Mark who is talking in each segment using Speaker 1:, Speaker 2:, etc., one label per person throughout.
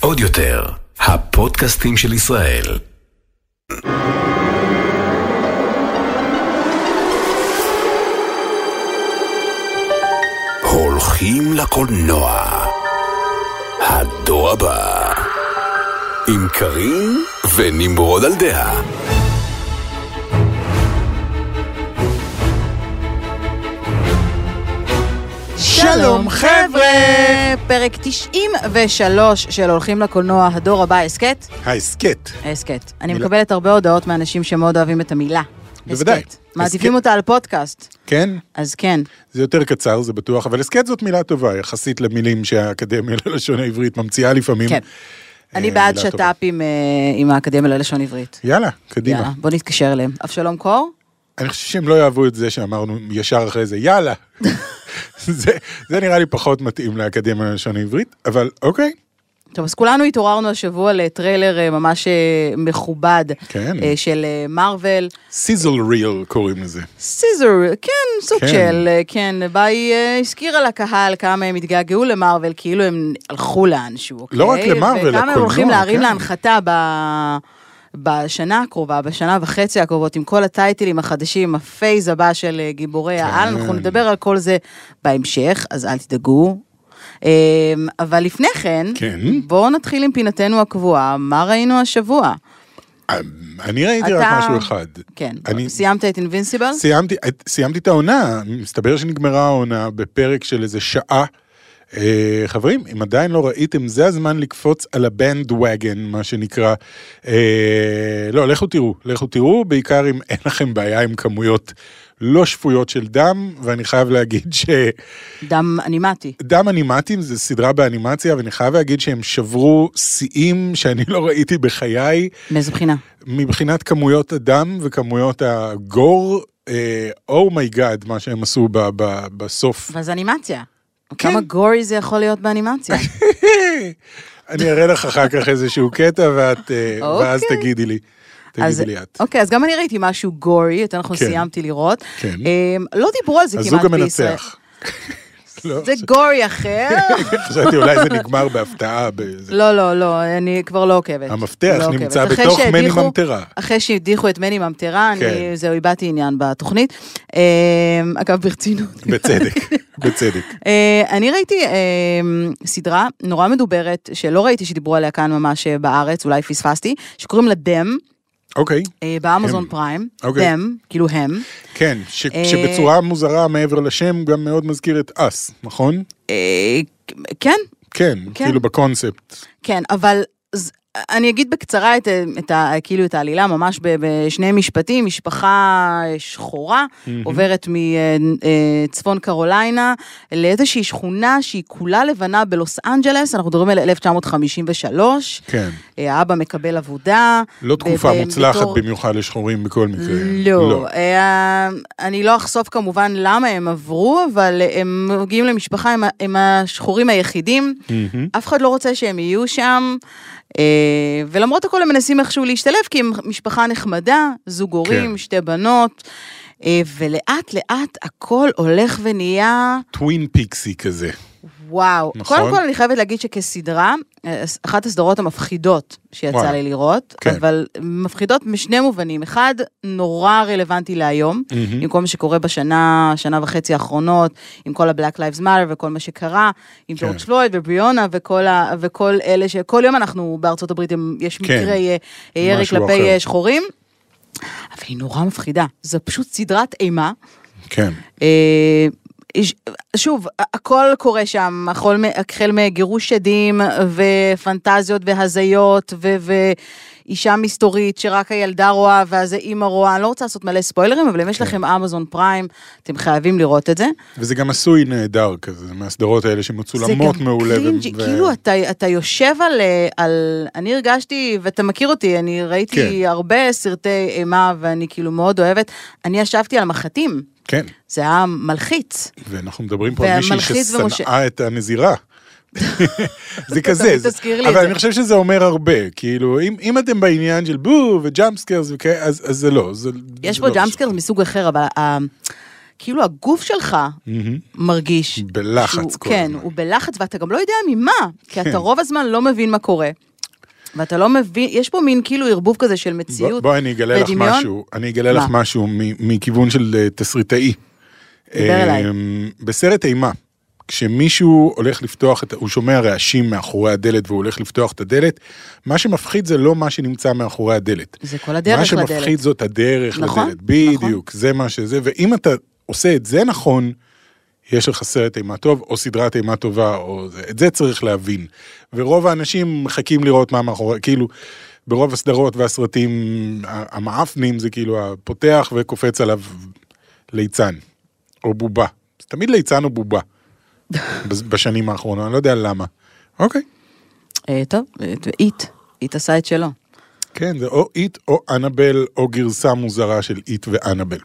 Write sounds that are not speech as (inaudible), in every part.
Speaker 1: עוד יותר, הפודקאסטים של ישראל. הולכים לקולנוע. הדור הבא. עם קארין ונמרוד על דעה.
Speaker 2: שלום חבר'ה! פרק 93 של הולכים לקולנוע, הדור הבא, הסכת?
Speaker 3: ההסכת.
Speaker 2: הסכת. אני
Speaker 3: מילה.
Speaker 2: מקבלת הרבה הודעות מאנשים שמאוד אוהבים את המילה.
Speaker 3: בוודאי.
Speaker 2: הסכת. מעדיפים
Speaker 3: הסכת. אה,
Speaker 2: אותה על פודקאסט,
Speaker 3: כן?
Speaker 2: אז כן.
Speaker 3: זה יותר קצר, זה בטוח, אבל הסכת זאת מילה טובה, יחסית למילים שהאקדמיה ללשון העברית ממציאה לפעמים.
Speaker 2: כן.
Speaker 3: אה,
Speaker 2: אני בעד
Speaker 3: מילה טובה.
Speaker 2: שת"פ עם, אה, עם האקדמיה ללשון עברית.
Speaker 3: יאללה,
Speaker 2: יאללה,
Speaker 3: קדימה.
Speaker 2: בוא נתקשר אליהם. אבשלום קור?
Speaker 3: אני חושב שהם לא יאהבו את זה שאמרנו ישר אחרי זה,
Speaker 2: (laughs)
Speaker 3: יאללה. זה זה נראה לי פחות מתאים לאקדמיה ללשון העברית, אבל אוקיי.
Speaker 2: טוב, אז כולנו התעוררנו השבוע לטריילר אה, ממש אה, מכובד
Speaker 3: כן.
Speaker 2: אה, של אה, מארוול.
Speaker 3: סיזל ריל קוראים לזה.
Speaker 2: סיזר, כן, סוג
Speaker 3: כן.
Speaker 2: של, אה, כן, ביי אה, הזכירה לקהל כמה הם התגעגעו למארוול, כאילו הם הלכו לאנשהו, אוקיי?
Speaker 3: לא רק למארוול,
Speaker 2: וכמה הם
Speaker 3: לקולנוע,
Speaker 2: הולכים להרים
Speaker 3: כן.
Speaker 2: להנחתה ב... בשנה הקרובה, בשנה וחצי הקרובות, עם כל הטייטלים החדשים, הפייז הבא של אה, גיבורי
Speaker 3: כן.
Speaker 2: העל, אנחנו נדבר על כל זה בהמשך, אז אל תדאגו. אה, אבל לפני כן,
Speaker 3: כן.
Speaker 2: בואו נתחיל עם פינתנו הקבועה, מה ראינו השבוע?
Speaker 3: אמ, אני ראיתי רק
Speaker 2: אתה-
Speaker 3: משהו אחד.
Speaker 2: כן,
Speaker 3: אני-
Speaker 2: סיימת את אינבינסיבל?
Speaker 3: סיימתי, סיימתי את העונה, מסתבר שנגמרה העונה בפרק של איזה שעה. אה, חברים, אם עדיין לא ראיתם, זה הזמן לקפוץ על הבנד וגן, מה שנקרא. אה, לא, לכו תראו, לכו תראו, בעיקר אם אין לכם בעיה עם כמויות לא שפויות של דם, ואני חייב להגיד ש...
Speaker 2: דם אנימטי.
Speaker 3: דם אנימטים זה סדרה באנימציה, ואני חייב להגיד שהם שברו שיאים שאני לא ראיתי בחיי.
Speaker 2: מאיזה בחינה?
Speaker 3: מבחינת כמויות הדם וכמויות הגור, אה, אומייגאד, מה שהם עשו ב, ב, בסוף.
Speaker 2: ואז אנימציה.
Speaker 3: כן.
Speaker 2: כמה גורי זה יכול להיות באנימציה?
Speaker 3: (laughs) אני אראה לך אחר כך איזשהו קטע, ואת, אה, ואז
Speaker 2: אוקיי.
Speaker 3: תגידי לי.
Speaker 2: אז-
Speaker 3: (laughs) תגידי לי את.
Speaker 2: אוקיי, אז גם אני ראיתי משהו גורי, את אנחנו
Speaker 3: כן.
Speaker 2: סיימתי לראות.
Speaker 3: כן.
Speaker 2: אמ, לא דיברו על זה
Speaker 3: הזוג
Speaker 2: כמעט בישראל.
Speaker 3: המנצח. (laughs) לא,
Speaker 2: זה גורי
Speaker 3: (laughs)
Speaker 2: אחר.
Speaker 3: חשבתי אולי זה נגמר בהפתעה. באיזה-
Speaker 2: לא, לא, לא, אני כבר לא עוקבת.
Speaker 3: המפתח
Speaker 2: לא עוקבת.
Speaker 3: נמצא
Speaker 2: אחרי
Speaker 3: בתוך מני
Speaker 2: שהדיחו-
Speaker 3: ממטרה.
Speaker 2: אחרי שהדיחו את מני ממטרה, אני-
Speaker 3: כן.
Speaker 2: זהו, איבדתי עניין בתוכנית. אמ, אגב, ברצינות.
Speaker 3: בצדק, בצדק.
Speaker 2: (laughs) אה, אני ראיתי אה, סדרה נורא מדוברת, שלא ראיתי שדיברו עליה כאן ממש אה, בארץ, אולי פספסתי, שקוראים לה דם.
Speaker 3: אוקיי,
Speaker 2: אה, באמזון
Speaker 3: הם.
Speaker 2: פריים,
Speaker 3: אוקיי.
Speaker 2: הם, כאילו הם,
Speaker 3: כן, ש-
Speaker 2: אה,
Speaker 3: שבצורה מוזרה מעבר לשם גם מאוד מזכיר את אס, נכון?
Speaker 2: אה, כן,
Speaker 3: כן,
Speaker 2: כן.
Speaker 3: כאילו בקונספט.
Speaker 2: כן, אבל ז- אני אגיד בקצרה את, ה- את ה, כאילו את העלילה ממש ב- בשני משפטים, משפחה שחורה עוברת מצפון קרוליינה לאיזושהי שכונה שהיא כולה לבנה בלוס אנג'לס, אנחנו מדברים על 1953,
Speaker 3: כן.
Speaker 2: אה, האבא מקבל עבודה.
Speaker 3: לא תקופה
Speaker 2: ב- ב-
Speaker 3: מוצלחת
Speaker 2: בתור-
Speaker 3: במיוחד לשחורים בכל מקרה.
Speaker 2: לא, אה, אני לא אחשוף כמובן למה הם עברו, אבל הם מגיעים למשפחה, הם, ה- הם השחורים היחידים, אף אחד לא רוצה שהם יהיו שם, אה, ולמרות הכל הם מנסים איכשהו להשתלב, כי הם משפחה נחמדה, זוג הורים,
Speaker 3: כן.
Speaker 2: שתי בנות, אה, ולאט לאט הכל הולך ונהיה...
Speaker 3: טווין פיקסי כזה.
Speaker 2: וואו. נכון.
Speaker 3: נכון.
Speaker 2: קודם כל, אני חייבת להגיד שכסדרה, אה, אחת הסדרות המפחידות שיצא וואו.
Speaker 3: וואו.
Speaker 2: לי לראות, כן.
Speaker 3: כן.
Speaker 2: אבל מפחידות משני מובנים. אחד, נורא רלוונטי להיום, עם כל מה שקורה בשנה, שנה וחצי האחרונות, עם כל ה-Black Lives Matter וכל מה שקרה, עם
Speaker 3: כן.
Speaker 2: ג'ורג' פלויד ובריונה וכל, ה, וכל אלה שכל יום אנחנו בארצות הברית, הם- יש
Speaker 3: כן.
Speaker 2: מקרי אה, ירי
Speaker 3: משהו
Speaker 2: כלפי
Speaker 3: אחר.
Speaker 2: אה, שחורים. אבל היא נורא מפחידה, זו פשוט סדרת אימה.
Speaker 3: כן.
Speaker 2: אה, ש- שוב, הכל קורה שם, הכל מ- החל מגירוש עדים ופנטזיות והזיות ו- ואישה מסתורית שרק הילדה רואה ואז האימא רואה, אני לא רוצה לעשות מלא ספוילרים, אבל אם
Speaker 3: כן.
Speaker 2: יש לכם אמזון פריים, אתם חייבים לראות את זה.
Speaker 3: וזה גם עשוי נהדר כזה, זה מהסדרות האלה שמצולמות מעולה. ו-
Speaker 2: קרינג'י,
Speaker 3: ו-
Speaker 2: כאילו אתה, אתה יושב על, אה, על... אני הרגשתי, ואתה מכיר אותי, אני ראיתי
Speaker 3: כן.
Speaker 2: הרבה סרטי אימה ואני כאילו מאוד אוהבת, אני ישבתי על מחטים,
Speaker 3: כן,
Speaker 2: זה היה מלחיץ.
Speaker 3: ואנחנו מדברים פה על מישהי
Speaker 2: והמלחיץ ומשה-
Speaker 3: ששנאה
Speaker 2: (laughs)
Speaker 3: את הנזירה. זה כזה,
Speaker 2: תמיד
Speaker 3: זה-
Speaker 2: תזכיר לי את
Speaker 3: אבל
Speaker 2: זה.
Speaker 3: אני חושב שזה אומר הרבה, כאילו, אם אם אתם בעניין של בו וג'אמפסקיירס וכאלה, אז אז זה לא. זה-
Speaker 2: יש
Speaker 3: זה
Speaker 2: פה
Speaker 3: לא
Speaker 2: ג'אמפסקר מסוג אחר, אבל ה- כאילו הגוף שלך מרגיש.
Speaker 3: בלחץ
Speaker 2: שהוא-
Speaker 3: כל
Speaker 2: כן,
Speaker 3: הזמן.
Speaker 2: הוא בלחץ, ואתה גם לא יודע ממה, כי
Speaker 3: כן.
Speaker 2: אתה רוב הזמן לא מבין מה קורה. ואתה לא מבין, יש פה מין כאילו ערבוב כזה של
Speaker 3: בוא-
Speaker 2: מציאות
Speaker 3: בואי אני אגלה לך
Speaker 2: ודמיון.
Speaker 3: משהו, אני אגלה לך
Speaker 2: מה?
Speaker 3: משהו מ- מכיוון של אה, תסריטאי.
Speaker 2: דבר אליי.
Speaker 3: אמ, בסרט אימה, כשמישהו הולך לפתוח, את, הוא שומע רעשים מאחורי הדלת והוא הולך לפתוח את הדלת, מה שמפחיד זה לא מה שנמצא מאחורי הדלת.
Speaker 2: זה כל הדרך
Speaker 3: מה
Speaker 2: לדלת.
Speaker 3: שמפחיד זאת הדרך
Speaker 2: נכון,
Speaker 3: לדלת, בדיוק, זה מה שזה, ואם אתה עושה את זה נכון, יש לך סרט אימה טוב, או סדרת אימה טובה, או זה, את זה צריך להבין. ורוב האנשים מחכים לראות מה מאחורי, כאילו, ברוב הסדרות והסרטים, ה- המעפנים זה כאילו הפותח וקופץ עליו ליצן, או בובה. זה תמיד ליצן או
Speaker 2: (laughs)
Speaker 3: בובה, בז- בשנים האחרונות, אני לא יודע למה. אוקיי,
Speaker 2: אה, טוב, אה, איט, איט עשה את שלו.
Speaker 3: כן, זה או איט או אנבל, או גרסה מוזרה של איט ואנבל.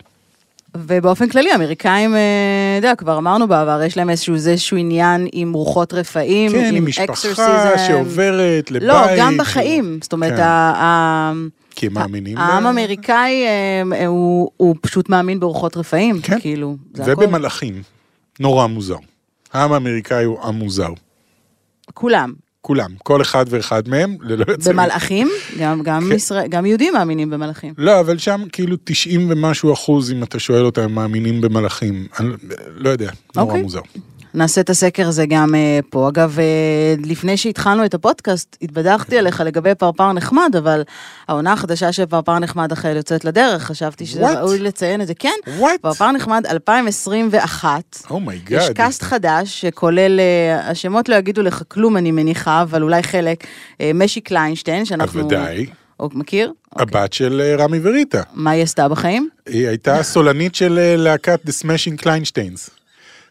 Speaker 2: ובאופן כללי, האמריקאים, אה, אתה יודע, כבר אמרנו בעבר, יש להם איזשהו זה איזשהו עניין עם רוחות רפאים,
Speaker 3: כן, עם
Speaker 2: exorcism.
Speaker 3: משפחה שעוברת לבית.
Speaker 2: לא, גם בחיים. זאת אומרת,
Speaker 3: כן.
Speaker 2: ה- ה-
Speaker 3: כי הם מאמינים.
Speaker 2: העם
Speaker 3: ב-
Speaker 2: האמריקאי, אה, אה, הוא הוא פשוט מאמין ברוחות רפאים.
Speaker 3: כן.
Speaker 2: כאילו, זה הכל.
Speaker 3: ובמלאכים. נורא מוזר. העם האמריקאי הוא עם מוזר.
Speaker 2: כולם.
Speaker 3: כולם, כל אחד ואחד מהם, ללא יוצא. מן-
Speaker 2: במלאכים, גם- גם
Speaker 3: כן.
Speaker 2: ישראל- גם יהודים מאמינים במלאכים.
Speaker 3: לא, אבל שם כאילו 90 ומשהו אחוז, אם אתה שואל אותם, הם מאמינים במלאכים. אני לא יודע, נורא
Speaker 2: אוקיי.
Speaker 3: מוזר.
Speaker 2: נעשה את הסקר הזה גם אה, פה. אגב, אה, לפני שהתחלנו את הפודקאסט, התבדחתי עליך לגבי פרפר נחמד, אבל העונה החדשה של פרפר נחמד החל יוצאת לדרך, חשבתי שזה
Speaker 3: What?
Speaker 2: ראוי לציין את זה. כן,
Speaker 3: What?
Speaker 2: פרפר נחמד 2021.
Speaker 3: אומייגאד.
Speaker 2: יש קאסט חדש שכולל, אה, השמות לא יגידו לך כלום אני מניחה, אבל אולי חלק, אה, משי קליינשטיין, שאנחנו...
Speaker 3: בוודאי.
Speaker 2: או, מכיר? אוקיי.
Speaker 3: הבת של אה, רמי וריטה.
Speaker 2: מה היא עשתה בחיים?
Speaker 3: היא הייתה סולנית של אה, להקת The Smashing Kleinsteins.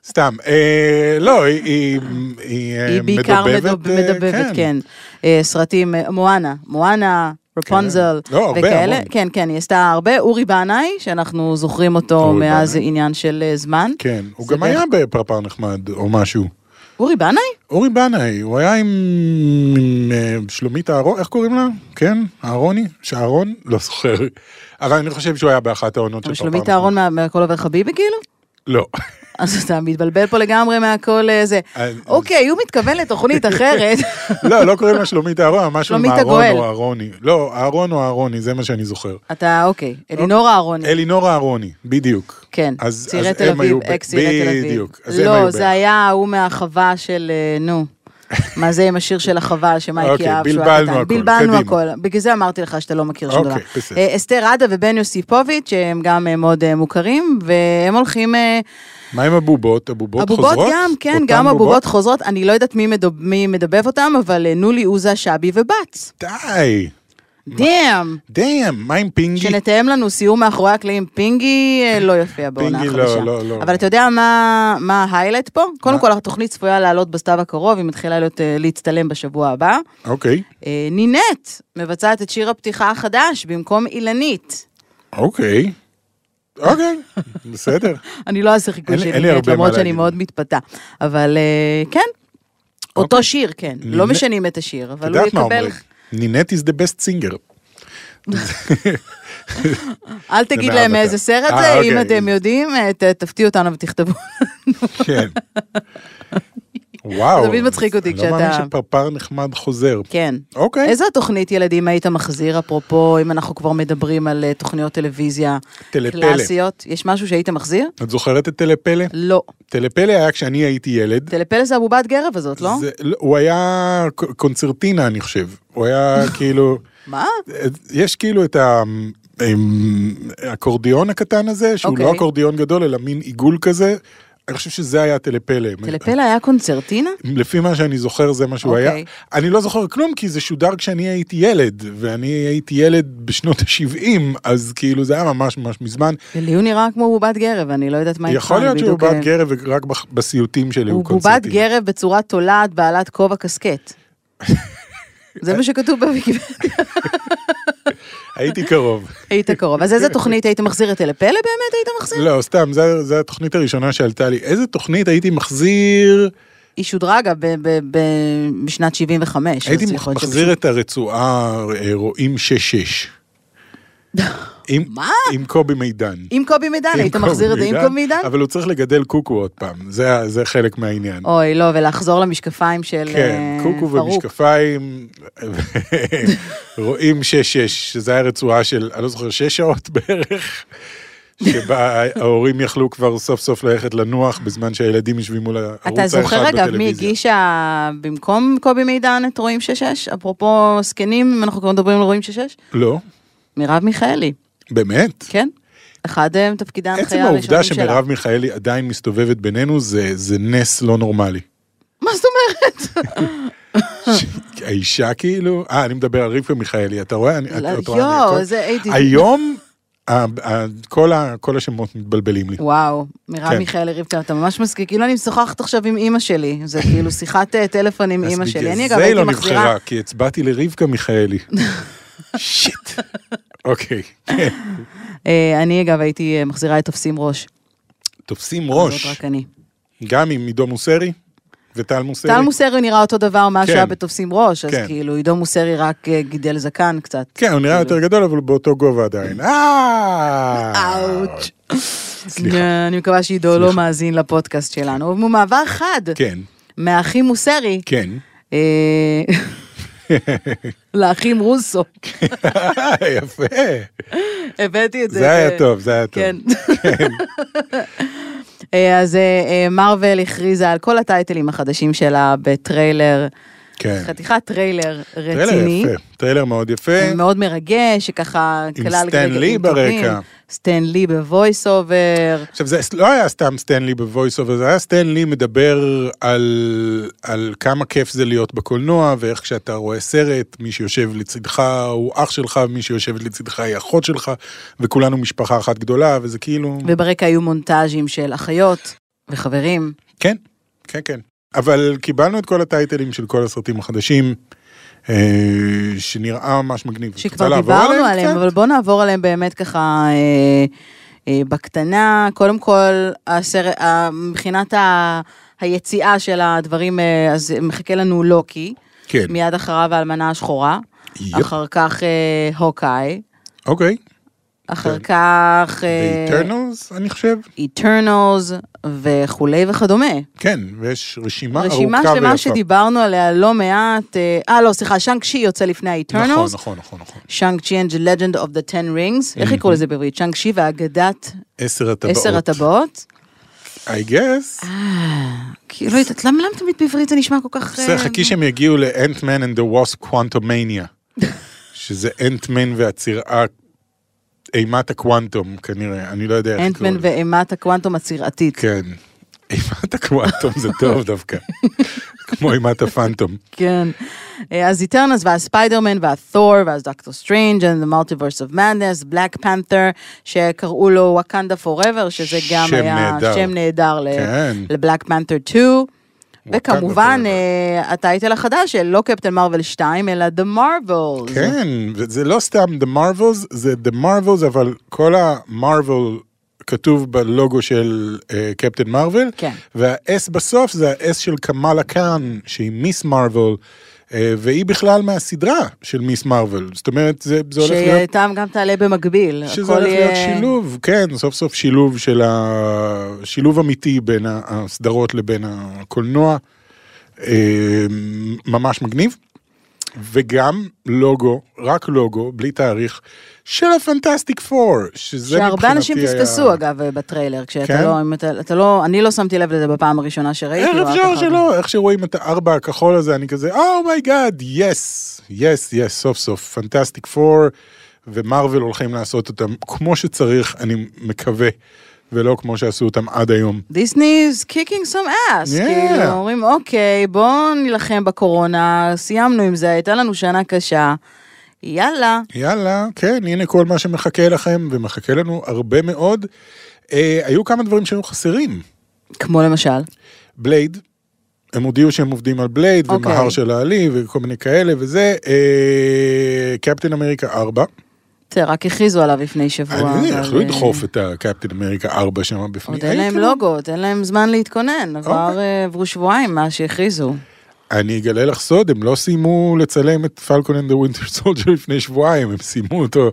Speaker 3: סתם, אה, לא, היא- היא היא, אה,
Speaker 2: היא בעיקר מדוב-
Speaker 3: אה,
Speaker 2: מדבבת, כן. אה, סרטים, אה, מואנה, מואנה, רפונזל,
Speaker 3: כן. לא, הרבה,
Speaker 2: וכאלה.
Speaker 3: המון.
Speaker 2: כן, כן, היא עשתה הרבה. אורי בנאי, שאנחנו זוכרים אותו
Speaker 3: אורי
Speaker 2: מאז
Speaker 3: בנאי.
Speaker 2: עניין של אה, זמן.
Speaker 3: כן, הוא
Speaker 2: זה
Speaker 3: גם
Speaker 2: בערך-
Speaker 3: היה בפרפר נחמד או משהו.
Speaker 2: אורי בנאי?
Speaker 3: אורי בנאי, הוא היה עם, עם אה, שלומית אהרון, איך קוראים לה? כן, אהרוני? שאהרון? לא זוכר. אבל אני חושב שהוא היה באחת העונות של
Speaker 2: אבל
Speaker 3: פרפר
Speaker 2: שלומית
Speaker 3: נחמד.
Speaker 2: אהרון מה- מהכל עובר חביבי כאילו?
Speaker 3: לא. (laughs)
Speaker 2: אז אתה מתבלבל פה לגמרי מהכל אה, זה.
Speaker 3: אז-
Speaker 2: אוקיי, הוא מתכוון לתוכנית אחרת.
Speaker 3: (laughs) לא, לא קוראים לה שלומית אהרון, משהו עם
Speaker 2: שלומית
Speaker 3: אהרון
Speaker 2: הגואל.
Speaker 3: או אהרוני. לא, אהרון או אהרוני, זה מה שאני זוכר.
Speaker 2: אתה, אוקיי, אלינור אהרוני.
Speaker 3: אלינור אהרוני, בדיוק.
Speaker 2: כן,
Speaker 3: אז-
Speaker 2: צעירי
Speaker 3: אז
Speaker 2: תל
Speaker 3: הם היו
Speaker 2: אביב,
Speaker 3: ב-
Speaker 2: אקס צעירי תל אביב.
Speaker 3: בדיוק, אז הם היו
Speaker 2: לא,
Speaker 3: ביחד.
Speaker 2: זה היה ההוא מהחווה של, אה, נו. מה זה עם השיר של החווה, שמייקי
Speaker 3: אוקיי,
Speaker 2: אהב שהוא
Speaker 3: בלבלנו
Speaker 2: היה קטן.
Speaker 3: הכל,
Speaker 2: בלבלנו
Speaker 3: קדימה.
Speaker 2: הכל, בגלל זה אמרתי לך שאתה לא מכיר שום דבר.
Speaker 3: אוקיי, בסדר.
Speaker 2: אה, אסתר עדה ובן יוסיפוביץ', שהם גם אה, מאוד אה, מוכרים, והם הולכים... אה,
Speaker 3: מה עם הבובות? הבובות חוזרות?
Speaker 2: הבובות גם, כן,
Speaker 3: אותן
Speaker 2: גם הבובות חוזרות. אני לא יודעת מי מדוב- מי מדבב אותם, אבל אה, נולי עוזה, שבי ובץ.
Speaker 3: די,
Speaker 2: דאם!
Speaker 3: דאם, מה עם פינגי?
Speaker 2: שנתאם לנו סיור מאחורי הקלעים, פינגי אה, לא יופיע בעונה
Speaker 3: פינגי
Speaker 2: החדשה.
Speaker 3: לא, לא, לא.
Speaker 2: אבל אתה יודע מה- מה ההיילייט פה? קודם כל, התוכנית צפויה לעלות בסתיו הקרוב, היא מתחילה להיות, אה, להצטלם בשבוע הבא.
Speaker 3: אוקיי,
Speaker 2: אה, נינט מבצעת את שיר הפתיחה החדש במקום אילנית.
Speaker 3: אוקיי. אוקיי,
Speaker 2: (laughs)
Speaker 3: בסדר.
Speaker 2: אני לא אעשה חיקוי
Speaker 3: אין לי-
Speaker 2: של
Speaker 3: אין לי
Speaker 2: נינט,
Speaker 3: הרבה מה
Speaker 2: למרות שאני
Speaker 3: להגיד.
Speaker 2: מאוד מתפתה. אבל אה, כן, אותו שיר, כן. לא
Speaker 3: אוקיי. נינט-
Speaker 2: משנים את השיר,
Speaker 3: את
Speaker 2: אבל הוא
Speaker 3: יודעת מה
Speaker 2: יקבל...
Speaker 3: אומרים? נינט is the best
Speaker 2: (laughs)
Speaker 3: singer.
Speaker 2: אל תגיד
Speaker 3: מאהב
Speaker 2: להם
Speaker 3: אותה.
Speaker 2: מאיזה סרט
Speaker 3: אה,
Speaker 2: זה, אם
Speaker 3: אוקיי.
Speaker 2: אתם יודעים, אה, ת- תפתיעו אותנו ותכתבו.
Speaker 3: כן. וואו.
Speaker 2: זה תמיד מצחיק אותי
Speaker 3: אני לא
Speaker 2: כשאתה-
Speaker 3: מאמין שפרפר נחמד חוזר.
Speaker 2: כן.
Speaker 3: אוקיי.
Speaker 2: איזו תוכנית ילדים היית מחזיר, אפרופו, אם אנחנו כבר מדברים על אה, תוכניות טלוויזיה
Speaker 3: טלפלא.
Speaker 2: קלאסיות? יש משהו שהיית מחזיר?
Speaker 3: את זוכרת את טלפלא?
Speaker 2: לא.
Speaker 3: טלפלא היה כשאני הייתי ילד.
Speaker 2: טלפלא זה הבובת גרב הזאת, לא?
Speaker 3: זה- הוא היה ק- קונצרטינה, אני חושב.
Speaker 2: (laughs)
Speaker 3: הוא היה כאילו...
Speaker 2: מה?
Speaker 3: יש כאילו את ה- אמ, האקורדיון הקטן הזה, שהוא
Speaker 2: אוקיי.
Speaker 3: לא אקורדיון גדול, אלא מין עיגול כזה. אני חושב שזה היה טלפלא.
Speaker 2: טלפלא היה קונצרטינה?
Speaker 3: לפי מה שאני זוכר זה מה שהוא
Speaker 2: אוקיי.
Speaker 3: היה. אני לא זוכר כלום כי זה שודר כשאני הייתי ילד, ואני הייתי ילד בשנות ה-70, אז כאילו זה היה ממש ממש מזמן.
Speaker 2: לי הוא נראה כמו בובת גרב, אני לא יודעת מה איתך.
Speaker 3: יכול
Speaker 2: אני
Speaker 3: להיות שהוא
Speaker 2: בדיוק, אה,
Speaker 3: בובת גרב ורק בח- בסיוטים שלי הוא
Speaker 2: הוא בובת
Speaker 3: קונצרטי.
Speaker 2: גרב בצורת תולעת בעלת כובע
Speaker 3: (laughs)
Speaker 2: קסקט. זה מה שכתוב בוויקיפדיה.
Speaker 3: הייתי קרוב.
Speaker 2: היית קרוב. אז איזה תוכנית היית מחזיר את טלפלא באמת היית מחזיר?
Speaker 3: לא, סתם, זו התוכנית הראשונה שעלתה לי. איזה תוכנית הייתי מחזיר?
Speaker 2: היא שודרה אגב ב- ב- ב- בשנת 75.
Speaker 3: הייתי
Speaker 2: אז יכול להיות
Speaker 3: מחזיר את הרצועה אה, רואים 6-6. עם-
Speaker 2: (laughs) מה?
Speaker 3: עם קובי מידן.
Speaker 2: עם קובי מידן,
Speaker 3: עם
Speaker 2: היית
Speaker 3: קובי
Speaker 2: מחזיר את זה עם
Speaker 3: מידן,
Speaker 2: קובי מידן?
Speaker 3: אבל הוא צריך לגדל קוקו עוד פעם, זה ה- זה חלק מהעניין.
Speaker 2: אוי, לא, ולחזור למשקפיים של
Speaker 3: כן,
Speaker 2: אה,
Speaker 3: קוקו
Speaker 2: פרוק.
Speaker 3: ומשקפיים, (laughs) רואים 6-6, שזה היה רצועה של, אני לא זוכר, 6 שעות
Speaker 2: (laughs)
Speaker 3: בערך, שבה ההורים יכלו כבר סוף סוף ללכת לנוח בזמן שהילדים יושבים מול הערוץ האחד
Speaker 2: אתה
Speaker 3: בטלוויזיה.
Speaker 2: זוכר אגב מי הגישה במקום קובי מידן את רואים שש-שש? אפרופו זקנים, אם אנחנו כבר מדברים על רואים שש-שש?
Speaker 3: לא,
Speaker 2: מרב מיכאלי,
Speaker 3: באמת?
Speaker 2: כן? אחד אה, מתפקידי ההנחיה
Speaker 3: עצם
Speaker 2: הראשונים שלה.
Speaker 3: העובדה שמרב מיכאלי עדיין מסתובבת בינינו זה זה נס לא נורמלי.
Speaker 2: מה זאת
Speaker 3: (laughs)
Speaker 2: אומרת? אה.
Speaker 3: האישה כאילו, אה, אני מדבר על רבקה מיכאלי, אתה רואה? אני- את- את רואה, אני הכל-
Speaker 2: לא, יואו, זה אייטיז.
Speaker 3: היום ה- ה- כל ה- כל השמות מתבלבלים לי.
Speaker 2: וואו, מרב
Speaker 3: כן.
Speaker 2: מיכאלי רבקה, אתה ממש מזכיר, כאילו אני משוחחת עכשיו עם אימא שלי, זה כאילו שיחת אה, טלפון עם
Speaker 3: אז
Speaker 2: אימא
Speaker 3: בגלל
Speaker 2: שלי. אני אגב
Speaker 3: זה היא
Speaker 2: הייתי
Speaker 3: לא
Speaker 2: מחזירה,
Speaker 3: נבחרה, כי הצבעתי לרבקה
Speaker 2: (laughs)
Speaker 3: מיכאלי. שיט. אוקיי, כן.
Speaker 2: אה, אני אגב הייתי אה, מחזירה את תופסים ראש.
Speaker 3: תופסים
Speaker 2: זאת
Speaker 3: ראש,
Speaker 2: רק אני.
Speaker 3: גם עם עידו מוסרי וטל מוסרי.
Speaker 2: טל מוסרי נראה אותו דבר מאז
Speaker 3: אה, כן.
Speaker 2: שהיה בתופסים ראש, אז
Speaker 3: כן.
Speaker 2: כאילו עידו מוסרי רק אה, גידל זקן קצת.
Speaker 3: כן, הוא נראה יותר גדול, אבל הוא באותו גובה עדיין. אה!
Speaker 2: אאוץ'.
Speaker 3: סליחה.
Speaker 2: אה, אני מקווה שעידו לא מאזין לפודקאסט שלנו. הוא מעבר חד
Speaker 3: כן,
Speaker 2: מהאחים מוסרי
Speaker 3: כן. (laughs)
Speaker 2: אה, לאחים רוסו.
Speaker 3: (laughs) יפה.
Speaker 2: הבאתי את זה.
Speaker 3: זה
Speaker 2: ב-
Speaker 3: היה טוב, זה היה טוב.
Speaker 2: כן. (laughs) אה, אז אה, אה, מארוול הכריזה על כל הטייטלים החדשים שלה בטריילר,
Speaker 3: כן.
Speaker 2: חתיכת טריילר
Speaker 3: טריילר
Speaker 2: רציני. לא-
Speaker 3: יפה, טריילר מאוד יפה.
Speaker 2: מאוד מרגש, שככה
Speaker 3: כן. עם
Speaker 2: כלל
Speaker 3: סטן
Speaker 2: רגעים
Speaker 3: לי
Speaker 2: טובים.
Speaker 3: ברקע.
Speaker 2: סטן לי בוויס אובר.
Speaker 3: עכשיו, זה לא היה סתם סטנלי בוויס אובר, זה היה סטנלי מדבר על, על כמה כיף זה להיות בקולנוע, ואיך כשאתה רואה סרט, מי שיושב לצדך הוא אח שלך, מי שיושבת לצדך היא אחות שלך, וכולנו משפחה אחת גדולה, וזה כאילו... ו...
Speaker 2: וברקע היו מונטאז'ים של אחיות וחברים.
Speaker 3: כן, כן, כן. אבל קיבלנו את כל הטייטלים של כל הסרטים החדשים, אה, שנראה ממש מגניב. את רוצה
Speaker 2: שכבר
Speaker 3: לעבור
Speaker 2: דיברנו עליהם,
Speaker 3: קצת?
Speaker 2: אבל בואו נעבור עליהם באמת ככה אה, אה, בקטנה. קודם כל, הסר, ה- מבחינת ה, היציאה של הדברים, אה, אז מחכה לנו לוקי,
Speaker 3: כן,
Speaker 2: מיד אחריו האלמנה השחורה,
Speaker 3: יופ.
Speaker 2: אחר כך אה, הוקאי,
Speaker 3: אוקיי.
Speaker 2: אחר
Speaker 3: כן.
Speaker 2: כך אה,
Speaker 3: ו-Eternals, אני חושב.
Speaker 2: איטרנלס וכולי וכדומה.
Speaker 3: כן, ויש רשימה ארוכה ויפה.
Speaker 2: רשימה שלמה שדיברנו עליה לא מעט, אה, אה לא, סליחה, שאנג צ'י יוצא לפני האיטרנלס.
Speaker 3: נכון, Mhm. נכון, נכון, נכון.
Speaker 2: שאנג צ'י and the legend of the ten rings, איך יקראו לזה בעברית? שאנג צ'י ואגדת
Speaker 3: עשר הטבעות.
Speaker 2: עשר הטבעות? אה.
Speaker 3: I guess.
Speaker 2: כאילו, את- למה למה תמיד בעברית זה נשמע כל כך...
Speaker 3: בסדר,
Speaker 2: אה,
Speaker 3: חכי שהם יגיעו לאנטמן and the wasp quantumania.
Speaker 2: (laughs)
Speaker 3: שזה אנטמן והצירה, אימת הקוואנטום כנראה, אני לא יודע איך
Speaker 2: אנטמן
Speaker 3: ו...
Speaker 2: ואימת הקוואנטום הצירתית.
Speaker 3: כן. אימת הקוואנטום זה טוב
Speaker 2: (laughs)
Speaker 3: דווקא. כמו אימת הפנטום.
Speaker 2: כן. אה, אז איטרנס ואז ספיידרמן ואז תור ואז דוקטור סטרנג' and the multiverse of madness, בלק פנת'ר, שקראו לו וואקנדה פוראבר, שזה גם
Speaker 3: שם
Speaker 2: היה
Speaker 3: נהדר.
Speaker 2: שם נהדר ל-
Speaker 3: כן.
Speaker 2: לבלק פנת'ר 2. וכמובן,
Speaker 3: Forever.
Speaker 2: אה, הטייטל החדש של לא קפטן מרוויל 2, אלא The Marvels.
Speaker 3: כן, וזה לא סתם The Marvels, זה The Marvels, אבל כל ה-Marvel כתוב בלוגו של קפטן מרוויל,
Speaker 2: כן.
Speaker 3: וה-S בסוף זה ה-S של קמאלה קאן, שהיא מיס מרוויל, אה, והיא בכלל מהסדרה של מיס מרוויל, זאת אומרת, זה, זה הולך להיות...
Speaker 2: שאיתם גם תעלה במקביל.
Speaker 3: שזה
Speaker 2: הכל
Speaker 3: הולך להיות
Speaker 2: יהיה-
Speaker 3: שילוב, כן, סוף סוף שילוב של ה... שילוב אמיתי בין הסדרות לבין הקולנוע. אה, ממש מגניב. וגם לוגו, רק לוגו, בלי תאריך, של הפנטסטיק פור, שזה מבחינתי
Speaker 2: שהרבה אנשים
Speaker 3: היה-
Speaker 2: פספסו אגב אה, בטריילר,
Speaker 3: כן?
Speaker 2: כשאתה לא, אם אתה- אתה לא, אני לא שמתי לב לזה בפעם הראשונה שראיתי. לא
Speaker 3: איך
Speaker 2: או אף
Speaker 3: אפשר
Speaker 2: אחד.
Speaker 3: שלא? איך שרואים את הארבע הכחול הזה, אני כזה, "Oh אומייגאד, יס, יס, יס, סוף סוף, פנטסטיק פור, ומרוויל הולכים לעשות אותם כמו שצריך, אני מקווה, ולא כמו שעשו אותם עד היום.
Speaker 2: דיסני is kicking some ass,
Speaker 3: Yeah.
Speaker 2: כאילו, אומרים אוקיי, בואו נילחם בקורונה, סיימנו עם זה, הייתה לנו שנה קשה, יאללה.
Speaker 3: יאללה, כן, הנה כל מה שמחכה לכם, ומחכה לנו הרבה מאוד. אה, היו כמה דברים שהיו חסרים.
Speaker 2: כמו למשל,
Speaker 3: בלייד, הם הודיעו שהם עובדים על בלייד,
Speaker 2: אוקיי.
Speaker 3: ומהר של העלי, וכל מיני כאלה וזה. אה, קפטן אמריקה 4.
Speaker 2: תראה, רק הכריזו עליו לפני שבוע.
Speaker 3: אני
Speaker 2: אבל,
Speaker 3: יכלו
Speaker 2: אה,
Speaker 3: לדחוף את הקפטן אמריקה 4 שם בפנים.
Speaker 2: עוד אין
Speaker 3: היי,
Speaker 2: להם
Speaker 3: כן.
Speaker 2: לוגו, עוד אין להם זמן להתכונן,
Speaker 3: אוקיי.
Speaker 2: כבר אה, עברו שבועיים מאז שהכריזו.
Speaker 3: אני אגלה לך סוד, (laughs) הם לא סיימו לצלם את פלקון and the Winter Soldier לפני שבועיים, הם סיימו אותו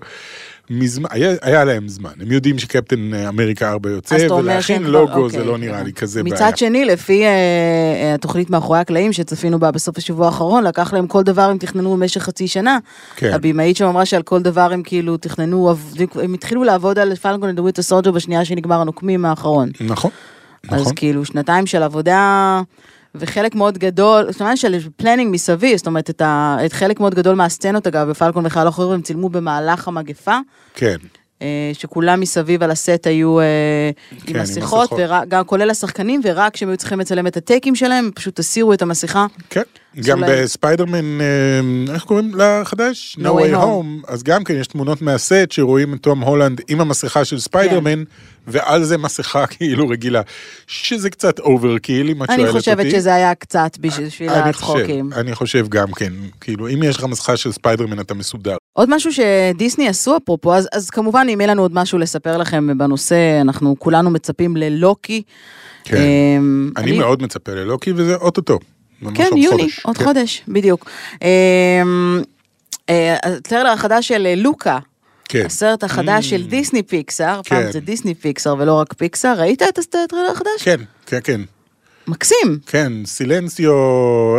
Speaker 3: מזמן, היה, היה להם זמן, הם יודעים שקפטן אמריקה 4 יוצא,
Speaker 2: אז אתה אומר
Speaker 3: ולהכין
Speaker 2: שהם
Speaker 3: לוגו
Speaker 2: כבר-
Speaker 3: זה
Speaker 2: אוקיי,
Speaker 3: לא נראה לי כזה בעיה.
Speaker 2: מצד שני, לפי אה, אה, התוכנית מאחורי הקלעים שצפינו בה בסוף השבוע האחרון, לקח להם כל דבר הם תכננו במשך חצי שנה.
Speaker 3: כן.
Speaker 2: הבמאית שם אמרה שעל כל דבר הם כאילו תכננו, עב- הם התחילו לעבוד על פלקון ודוויט הסולג'ו בשנייה שנגמר הנוקמים האחרון.
Speaker 3: נכון,
Speaker 2: אז
Speaker 3: נכון.
Speaker 2: כאילו שנתיים של עבודה וחלק מאוד גדול, זאת אומרת של פלנינג מסביב, זאת אומרת את, ה, את חלק מאוד גדול מהסצנות אגב, בפלקון וחייל אחר הם צילמו במהלך המגפה,
Speaker 3: כן,
Speaker 2: אה, שכולם מסביב על הסט היו אה,
Speaker 3: כן, עם
Speaker 2: עם מסכות,
Speaker 3: מסכות.
Speaker 2: ורק- גם כולל השחקנים, ורק כשהם היו צריכים לצלם את הטייקים שלהם, הם פשוט הסירו את המסכה.
Speaker 3: כן. גם
Speaker 2: אולי-
Speaker 3: בספיידרמן, אה, איך קוראים לחדש?
Speaker 2: No Way Home.
Speaker 3: אז גם כן יש תמונות מהסט שרואים את תום הולנד עם המסכה של
Speaker 2: כן.
Speaker 3: ספיידרמן, ועל זה מסכה (laughs) כאילו רגילה, שזה קצת אוברקיל, אם את שואלת אותי.
Speaker 2: אני חושבת שזה היה קצת בש- בשביל
Speaker 3: אני חושב,
Speaker 2: הצחוקים.
Speaker 3: אני חושב גם כן, כאילו אם יש לך מסכה של ספיידרמן אתה מסודר.
Speaker 2: עוד משהו שדיסני עשו אפרופו, אז, אז כמובן אם יהיה לנו עוד משהו לספר לכם בנושא, אנחנו כולנו מצפים ללוקי.
Speaker 3: כן.
Speaker 2: אמ,
Speaker 3: אני מאוד מצפה ללוקי וזה אוטוטו. ממש
Speaker 2: כן,
Speaker 3: עוד
Speaker 2: יוני,
Speaker 3: חודש.
Speaker 2: עוד
Speaker 3: כן.
Speaker 2: חודש, בדיוק. אמ, אה, הטריילר החדש של אה, לוקה,
Speaker 3: כן.
Speaker 2: הסרט החדש של דיסני פיקסאר,
Speaker 3: כן.
Speaker 2: פעם זה דיסני פיקסאר ולא רק פיקסאר, ראית את הס- הטריילר החדש?
Speaker 3: כן, כן, כן,
Speaker 2: מקסים.
Speaker 3: כן, סילנסיו,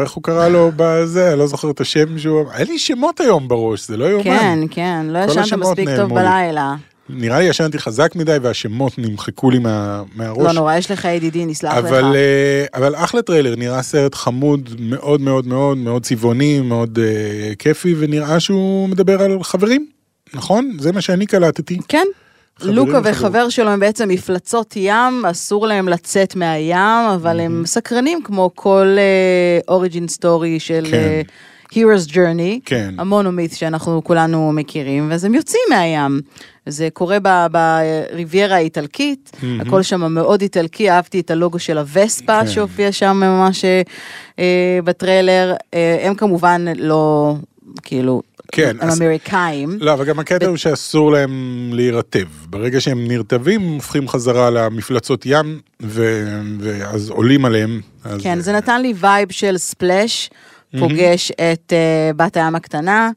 Speaker 3: איך הוא קרא לו בזה, אני לא זוכר את השם שהוא... אין לי שמות היום בראש, זה לא יאומן.
Speaker 2: כן, כן, לא
Speaker 3: כל
Speaker 2: ישנת
Speaker 3: השמות
Speaker 2: מספיק טוב
Speaker 3: נעלמו לי.
Speaker 2: בלילה.
Speaker 3: נראה לי ישנתי חזק מדי והשמות נמחקו לי מה, מהראש.
Speaker 2: לא נורא, יש לך ידידי, נסלח לך.
Speaker 3: אבל, אה, אבל אחלה טריילר, נראה סרט חמוד מאוד מאוד מאוד מאוד צבעוני, מאוד אה, כיפי, ונראה שהוא מדבר על חברים, נכון? זה מה שאני קלטתי.
Speaker 2: כן.
Speaker 3: חברים
Speaker 2: לוקה
Speaker 3: וחברות.
Speaker 2: וחבר שלו הם בעצם מפלצות ים, אסור להם לצאת מהים, אבל הם סקרנים כמו כל אוריג'ין סטורי של
Speaker 3: כן.
Speaker 2: אה, Hero's Journey,
Speaker 3: כן.
Speaker 2: המונומית שאנחנו כולנו מכירים, ואז הם יוצאים מהים. זה קורה ב- בריביירה האיטלקית, הכל שם מאוד איטלקי, אהבתי את הלוגו של הווספה
Speaker 3: כן.
Speaker 2: שהופיע שם ממש אה, אה, בטריילר. אה, הם כמובן לא, כאילו,
Speaker 3: כן,
Speaker 2: הם
Speaker 3: אז-
Speaker 2: אמריקאים.
Speaker 3: לא, אבל גם הקטע הוא שאסור להם להירטב. ברגע שהם נרטבים, הופכים חזרה למפלצות ים, ו... ואז עולים עליהם. אז... אה,
Speaker 2: כן, זה נתן לי וייב של ספלאש, פוגש את אה, בת הים הקטנה,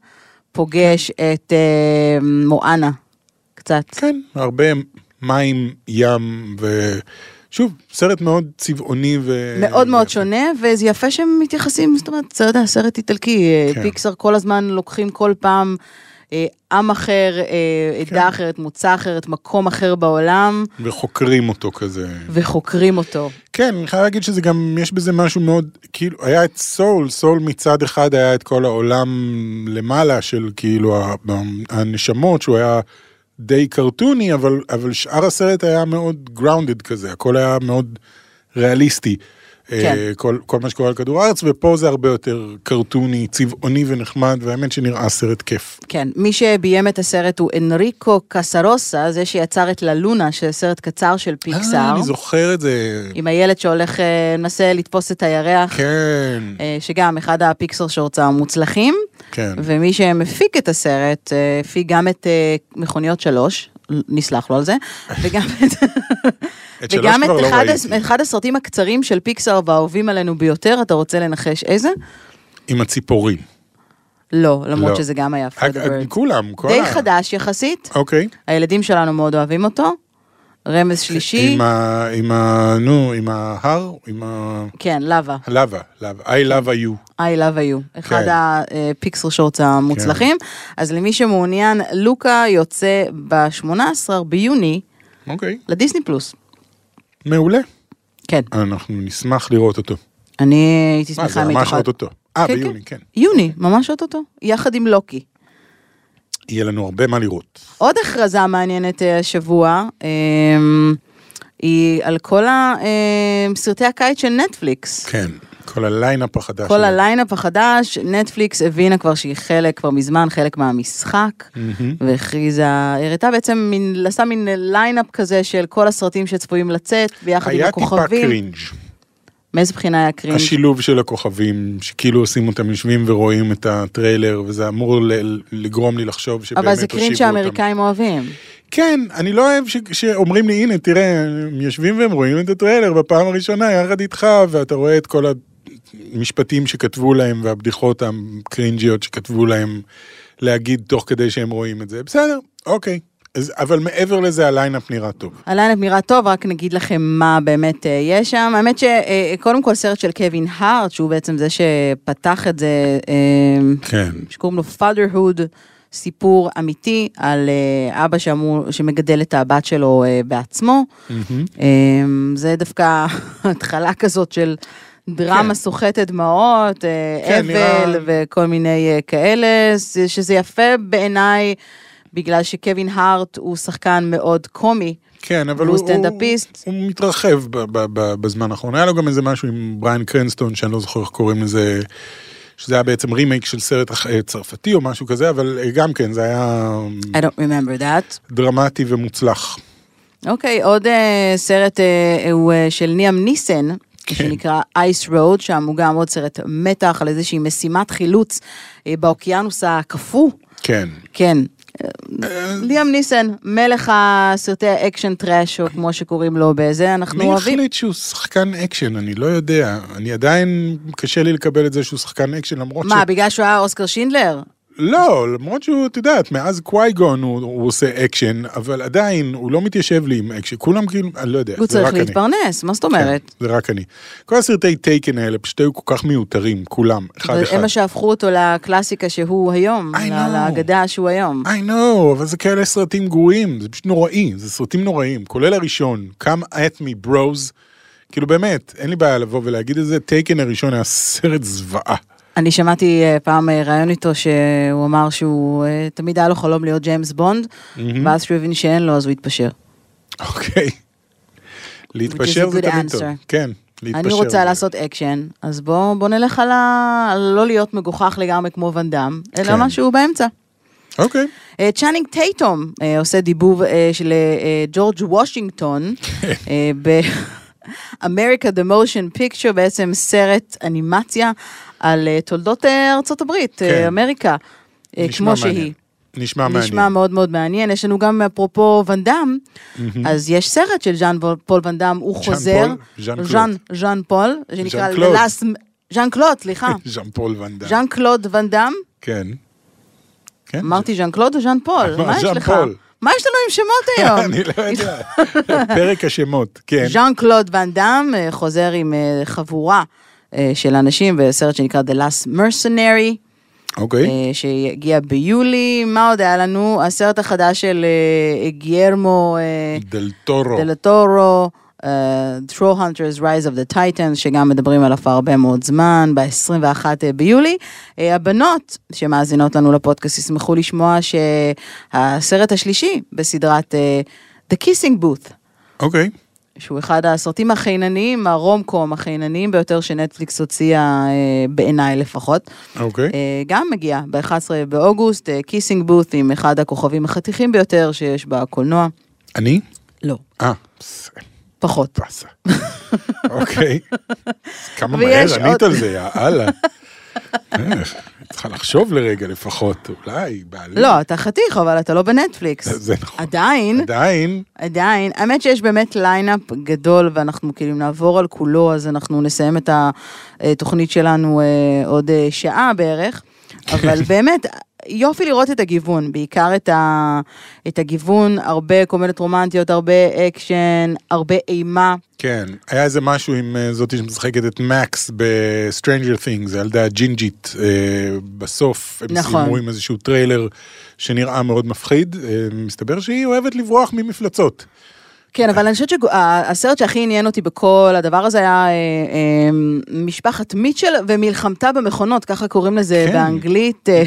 Speaker 2: פוגש את אה, מואנה, קצת.
Speaker 3: כן, הרבה מים, ים, ושוב, סרט מאוד צבעוני ו...
Speaker 2: מאוד מאוד
Speaker 3: ו-
Speaker 2: שונה, וזה יפה שהם מתייחסים, זאת אומרת, אתה יודע, סרט איטלקי, אה,
Speaker 3: כן.
Speaker 2: פיקסאר כל הזמן לוקחים כל פעם אה, עם אחר, אה,
Speaker 3: כן.
Speaker 2: עדה אחרת, מוצא אחרת, מקום אחר בעולם,
Speaker 3: וחוקרים אותו כזה.
Speaker 2: וחוקרים אותו.
Speaker 3: כן, אני חייב להגיד שזה גם, יש בזה משהו מאוד, כאילו, היה את סול, סול מצד אחד היה את כל העולם למעלה של כאילו ה- הנשמות, שהוא היה די קרטוני, אבל, אבל שאר הסרט היה מאוד גראונדד כזה, הכל היה מאוד ריאליסטי.
Speaker 2: כן.
Speaker 3: אה, כל, כל מה שקורה על כדור הארץ, ופה זה הרבה יותר קרטוני, צבעוני ונחמד, והאמת שנראה סרט כיף.
Speaker 2: כן, מי שביים את הסרט הוא אנריקו קסרוסה, זה שיצר את ללונה, שזה סרט קצר של פיקסאר.
Speaker 3: אה, אני זוכר את זה.
Speaker 2: עם הילד שהולך, אה, מנסה לתפוס את הירח,
Speaker 3: כן,
Speaker 2: אה, שגם אחד הפיקסר שורטס המוצלחים,
Speaker 3: כן.
Speaker 2: ומי שמפיק את הסרט, אה, הפיק גם את אה, מכוניות שלוש, נסלח
Speaker 3: (laughs)
Speaker 2: לו על זה, וגם את,
Speaker 3: את שלוש
Speaker 2: וגם את
Speaker 3: כבר לא
Speaker 2: אחד, הס-
Speaker 3: ראיתי.
Speaker 2: אחד הסרטים הקצרים של פיקסר והאהובים עלינו ביותר, אתה רוצה לנחש איזה?
Speaker 3: עם הציפורים.
Speaker 2: לא, למרות
Speaker 3: לא.
Speaker 2: שזה גם היה
Speaker 3: אג- אג-
Speaker 2: פרדברד.
Speaker 3: כולם, כל
Speaker 2: די
Speaker 3: ה-
Speaker 2: חדש יחסית,
Speaker 3: אוקיי.
Speaker 2: הילדים שלנו מאוד אוהבים אותו. רמז שלישי,
Speaker 3: עם ה... עם ה... נו, עם ההר, עם ה...
Speaker 2: כן, לאווה.
Speaker 3: לבה, לבה. I love you.
Speaker 2: I Love You, אחד
Speaker 3: כן.
Speaker 2: הפיקסל שורטס המוצלחים. אז למי שמעוניין, לוקה יוצא ב-18 ביוני
Speaker 3: אוקיי.
Speaker 2: לדיסני פלוס.
Speaker 3: מעולה.
Speaker 2: כן,
Speaker 3: אנחנו נשמח לראות אותו.
Speaker 2: אני הייתי
Speaker 3: מה, זה
Speaker 2: שמחה אם היית
Speaker 3: ממש
Speaker 2: יכולה-
Speaker 3: אוטוטו. אה,
Speaker 2: כן,
Speaker 3: ביוני, כן.
Speaker 2: יוני, ממש אוטוטו, יחד עם לוקי.
Speaker 3: יהיה לנו הרבה מה לראות.
Speaker 2: עוד הכרזה מעניינת אה, השבוע, אמ, היא על כל הסרטי הקיץ של נטפליקס.
Speaker 3: כן. כל הליינאפ החדש.
Speaker 2: כל
Speaker 3: שלנו.
Speaker 2: הליינאפ החדש, נטפליקס הבינה כבר שהיא חלק, כבר מזמן חלק מהמשחק, והכריזה, הראתה בעצם, מין, עשה מין ליינאפ כזה של כל הסרטים שצפויים לצאת, ביחד עם
Speaker 3: היה טיפה
Speaker 2: הכוכבים.
Speaker 3: קרינג'.
Speaker 2: מאיזה בחינה היה קרינג'?
Speaker 3: השילוב של הכוכבים, שכאילו עושים אותם יושבים ורואים את הטריילר, וזה אמור ל- לגרום לי לחשוב שבאמת
Speaker 2: אבל זה
Speaker 3: הושיבו אותם.
Speaker 2: קרינג' שהאמריקאים אוהבים.
Speaker 3: כן, אני לא אוהב ש... שאומרים לי, הנה, תראה, הם יושבים והם רואים את הטריילר בפעם הראשונה יחד איתך, ואתה רואה את כל המשפטים שכתבו להם והבדיחות הקרינג'יות שכתבו להם להגיד תוך כדי שהם רואים את זה. בסדר, אוקיי, אז- אבל מעבר לזה הליינאפ נראה טוב.
Speaker 2: הליינאפ נראה טוב, רק נגיד לכם מה באמת אה, יש שם. האמת שקודם כל סרט של קווין הארט, שהוא בעצם זה שפתח את זה, אה,
Speaker 3: כן.
Speaker 2: שקוראים לו Fatherhood, סיפור אמיתי על אה, אבא שאמור, שמגדל את הבת שלו אה, בעצמו. אה, זה דווקא (laughs) התחלה כזאת של דרמה סוחטת דמעות, אה,
Speaker 3: כן,
Speaker 2: אבל
Speaker 3: נראה-
Speaker 2: וכל מיני אה, כאלה, ש- שזה יפה בעיניי. בגלל שקווין הארט הוא שחקן מאוד קומי,
Speaker 3: כן, אבל
Speaker 2: והוא
Speaker 3: הוא...
Speaker 2: סטנדאפיסט.
Speaker 3: הוא, הוא מתרחב ב, ב, ב, בזמן האחרון. היה לו גם איזה משהו עם בריאן קרנסטון, שאני לא זוכר איך קוראים לזה, שזה היה בעצם רימייק של סרט אח- אה, צרפתי או משהו כזה, אבל אה, גם כן, זה היה
Speaker 2: I don't remember that.
Speaker 3: דרמטי ומוצלח.
Speaker 2: אוקיי, עוד אה, סרט אה, הוא אה, של ניאם ניסן,
Speaker 3: כן.
Speaker 2: שנקרא Ice Road, שם הוא גם עוד סרט מתח על איזושהי משימת חילוץ אה, באוקיינוס הקפוא.
Speaker 3: כן.
Speaker 2: כן. אה, ליאם ניסן, מלך הסרטי האקשן טראש, או כמו שקוראים לו בזה, אנחנו
Speaker 3: מי
Speaker 2: אוהבים.
Speaker 3: החליט שהוא שחקן אקשן? אני לא יודע. אני עדיין, קשה לי לקבל את זה שהוא שחקן אקשן, למרות
Speaker 2: מה, בגלל שהוא היה אוסקר שינדלר?
Speaker 3: לא, למרות שהוא, את יודעת, מאז קווייגון הוא, הוא עושה אקשן, אבל עדיין הוא לא מתיישב לי עם אקשן. כולם כאילו, אני לא יודע,
Speaker 2: הוא
Speaker 3: זה רק
Speaker 2: צריך
Speaker 3: אני.
Speaker 2: להתפרנס, מה זאת
Speaker 3: כן,
Speaker 2: אומרת?
Speaker 3: זה רק אני. כל הסרטי טייקן האלה פשוט היו כל כך מיותרים, כולם, כן, אחד
Speaker 2: אבל
Speaker 3: אחד.
Speaker 2: הם מה שהפכו אותו לקלאסיקה שהוא היום,
Speaker 3: I know.
Speaker 2: לאגדה שהוא היום.
Speaker 3: I know, אבל זה כאלה סרטים גרועים, זה פשוט נוראי, זה סרטים נוראים, כולל הראשון, Come at me bros, כאילו באמת, אין לי בעיה לבוא ולהגיד את זה, טייקן הראשון היה סרט זוועה.
Speaker 2: אני שמעתי אה, פעם אה, ראיון איתו שהוא אמר שהוא אה, תמיד היה לו חלום להיות ג'יימס בונד, ואז שהוא הבין שאין לו אז הוא התפשר.
Speaker 3: אוקיי. להתפשר
Speaker 2: a
Speaker 3: זה
Speaker 2: good
Speaker 3: תמיד טוב.
Speaker 2: answer.
Speaker 3: כן, להתפשר.
Speaker 2: אני
Speaker 3: זה-
Speaker 2: רוצה לעשות אקשן, אז בוא בוא נלך על ה... על לא להיות מגוחך לגמרי כמו ואנדאם, אלא
Speaker 3: כן.
Speaker 2: משהו באמצע.
Speaker 3: אוקיי.
Speaker 2: אה, צ'אנינג טייטום אה, עושה דיבוב אה, של אה, ג'ורג'
Speaker 3: (laughs)
Speaker 2: וושינגטון אה, ב... America the Motion Picture, בעצם סרט אנימציה על אה, תולדות אה, ארצות הברית, אה,
Speaker 3: כן.
Speaker 2: אמריקה, אה,
Speaker 3: נשמע
Speaker 2: כמו
Speaker 3: מעניין.
Speaker 2: שהיא.
Speaker 3: נשמע מעניין.
Speaker 2: נשמע מאוד מאוד מעניין. יש לנו גם אפרופו ואנדאם, אז יש סרט של ז'אן פול- פול ואנדאם, הוא
Speaker 3: ז'אן
Speaker 2: חוזר.
Speaker 3: פול? ז'אן קלוד.
Speaker 2: ז'אן- ז'אן פול, שנקרא
Speaker 3: ז'אן קלוד.
Speaker 2: ללאס... ז'אן קלוד, סליחה.
Speaker 3: (laughs) ז'אן פול ונדה.
Speaker 2: ז'אן קלוד ואנדאם,
Speaker 3: כן. כן.
Speaker 2: אמרתי ז'אן קלוד או ז'אן פול,
Speaker 3: אמר,
Speaker 2: מה יש
Speaker 3: ז'אן
Speaker 2: לך?
Speaker 3: פול.
Speaker 2: מה יש לנו עם שמות היום?
Speaker 3: (laughs) (laughs) אני לא יודע. פרק השמות, כן.
Speaker 2: ז'אן קלוד ואן דאם אה, חוזר עם אה, חבורה אה, של אנשים בסרט שנקרא The Last Mercenary,
Speaker 3: אוקיי.
Speaker 2: אה, שהגיע ביולי. מה עוד היה לנו? הסרט החדש של אה, גיירמו... אה,
Speaker 3: דל טורו.
Speaker 2: דלטורו, Throw אה, Hunters Rise of the Titans, שגם מדברים עליו הרבה מאוד זמן, ב-21 ביולי. אה, הבנות שמאזינות לנו לפודקאסט ישמחו לשמוע שהסרט השלישי בסדרת אה, The Kissing Booth,
Speaker 3: אוקיי.
Speaker 2: שהוא אחד הסרטים החינניים, הרום קום החינניים ביותר שנטפליקס הוציאה, אה, בעיניי לפחות.
Speaker 3: אוקיי.
Speaker 2: אה, גם מגיע ב-11 באוגוסט, קיסינג בות' עם אחד הכוכבים החתיכים ביותר שיש בקולנוע.
Speaker 3: אני?
Speaker 2: לא.
Speaker 3: אה. פס-
Speaker 2: פחות.
Speaker 3: פסה. אוקיי. כמה מהר
Speaker 2: ויש
Speaker 3: ענית
Speaker 2: עוד-
Speaker 3: על זה, יא אללה. איך, צריכה לחשוב לרגע לפחות, אולי, בעלי.
Speaker 2: לא, אתה חתיך, אבל אתה לא בנטפליקס.
Speaker 3: זה נכון.
Speaker 2: עדיין,
Speaker 3: עדיין.
Speaker 2: עדיין. האמת שיש באמת ליינאפ גדול, ואנחנו כאילו נעבור על כולו, אז אנחנו נסיים את התוכנית שלנו אה, עוד אה, שעה בערך.
Speaker 3: כן.
Speaker 2: אבל באמת, יופי לראות את הגיוון, בעיקר את, ה, את הגיוון, הרבה קומדיות רומנטיות, הרבה אקשן, הרבה אימה.
Speaker 3: כן, היה איזה משהו עם אה, זאתי שמשחקת את מקס ב-Stranger Things, הילדה הג'ינג'ית, אה, בסוף הם
Speaker 2: נכון.
Speaker 3: סיימו עם איזשהו טריילר שנראה מאוד מפחיד, אה, מסתבר שהיא אוהבת לברוח ממפלצות.
Speaker 2: כן, אבל אני חושבת שהסרט שהכי עניין אותי בכל הדבר הזה היה אה, אה, משפחת מיטשל ומלחמתה במכונות, ככה קוראים לזה
Speaker 3: כן.
Speaker 2: באנגלית. אה,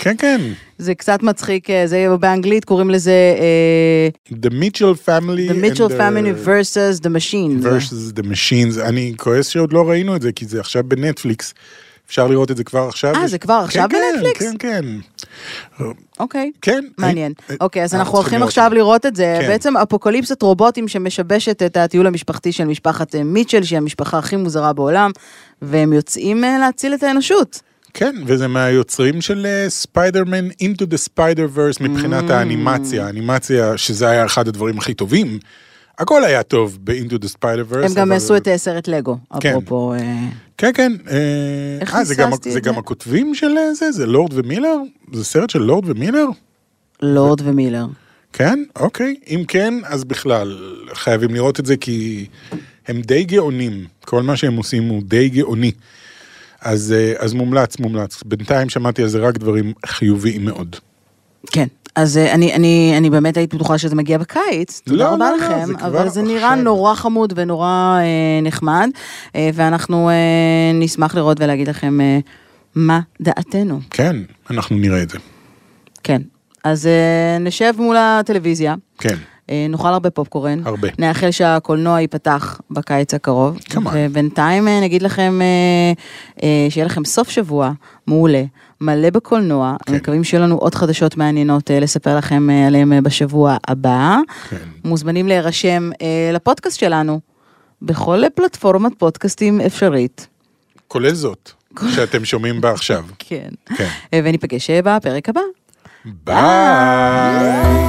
Speaker 3: כן, כן,
Speaker 2: זה קצת מצחיק, אה, זה באנגלית קוראים לזה אה,
Speaker 3: The Mitchell Family
Speaker 2: The Mitchell Family
Speaker 3: versus...
Speaker 2: versus The Machine.
Speaker 3: versus The Machines, אני כועס שעוד לא ראינו את זה, כי זה עכשיו בנטפליקס. אפשר לראות את זה כבר עכשיו.
Speaker 2: אה,
Speaker 3: יש-
Speaker 2: זה כבר
Speaker 3: כן,
Speaker 2: עכשיו
Speaker 3: כן,
Speaker 2: בנטפליקס?
Speaker 3: כן, כן,
Speaker 2: אוקיי.
Speaker 3: כן.
Speaker 2: מעניין.
Speaker 3: אה,
Speaker 2: אוקיי, אז
Speaker 3: אה,
Speaker 2: אנחנו הולכים
Speaker 3: צריכים לראות
Speaker 2: עכשיו לראות את זה.
Speaker 3: כן.
Speaker 2: בעצם אפוקליפסת רובוטים שמשבשת את הטיול המשפחתי של משפחת אה, מיטשל, שהיא המשפחה הכי מוזרה בעולם, והם יוצאים אה, להציל את האנושות.
Speaker 3: כן, וזה מהיוצרים של ספיידרמן into the spider-verse
Speaker 2: Mm.
Speaker 3: מבחינת האנימציה. האנימציה, שזה היה אחד הדברים הכי טובים, הכל היה טוב ב-into the spider-verse.
Speaker 2: הם גם
Speaker 3: אבל-
Speaker 2: עשו את אה, סרט לגו,
Speaker 3: כן.
Speaker 2: אפרופו... אה,
Speaker 3: כן, כן. אה,
Speaker 2: איך
Speaker 3: אה, זה גם-
Speaker 2: פספסתי
Speaker 3: זה
Speaker 2: את זה?
Speaker 3: גם הכותבים של אה, זה? זה לורד ומילר? זה סרט של לורד ומילר?
Speaker 2: לורד ומילר.
Speaker 3: כן? אוקיי. אם כן, אז בכלל, חייבים לראות את זה, כי הם די גאונים. כל מה שהם עושים הוא די גאוני. אז, אה, אז מומלץ, מומלץ. בינתיים שמעתי על זה רק דברים חיוביים מאוד.
Speaker 2: כן. אז אה, אני, אני, אני באמת הייתי בטוחה שזה מגיע בקיץ, תודה
Speaker 3: לא,
Speaker 2: רבה
Speaker 3: לא, לא,
Speaker 2: לכם,
Speaker 3: זה כבר
Speaker 2: אבל זה נראה
Speaker 3: עכשיו.
Speaker 2: נורא חמוד ונורא אה, נחמד, אה, ואנחנו אה, נשמח לראות ולהגיד לכם אה, מה דעתנו.
Speaker 3: כן, אנחנו נראה את זה.
Speaker 2: כן. אז אה, נשב מול הטלוויזיה,
Speaker 3: כן.
Speaker 2: אה, נאכל הרבה פופקורן.
Speaker 3: הרבה.
Speaker 2: נאחל שהקולנוע ייפתח בקיץ הקרוב.
Speaker 3: כמובן.
Speaker 2: ובינתיים אה, נגיד לכם אה, אה, שיהיה לכם סוף שבוע מעולה, מלא בקולנוע.
Speaker 3: כן.
Speaker 2: מקווים שיהיו לנו עוד חדשות מעניינות אה, לספר לכם אה, עליהן אה, בשבוע הבא.
Speaker 3: כן.
Speaker 2: מוזמנים להירשם אה, לפודקאסט שלנו, בכל פלטפורמת פודקאסטים אפשרית.
Speaker 3: כולל זאת, שאתם שומעים בה עכשיו.
Speaker 2: כן.
Speaker 3: כן.
Speaker 2: אה, וניפגש אה, בפרק הבא.
Speaker 3: ביי!